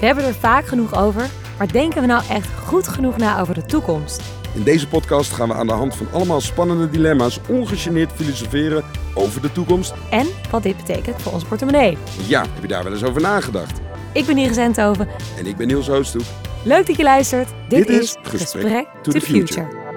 We hebben er vaak genoeg over, maar denken we nou echt goed genoeg na over de toekomst? In deze podcast gaan we aan de hand van allemaal spannende dilemma's ongegeneerd filosoferen over de toekomst. En wat dit betekent voor ons portemonnee. Ja, heb je daar wel eens over nagedacht? Ik ben Iris Enthoven. En ik ben Niels Hoosthoek. Leuk dat je luistert. Dit, Dit is Gesprek, Gesprek to, the future.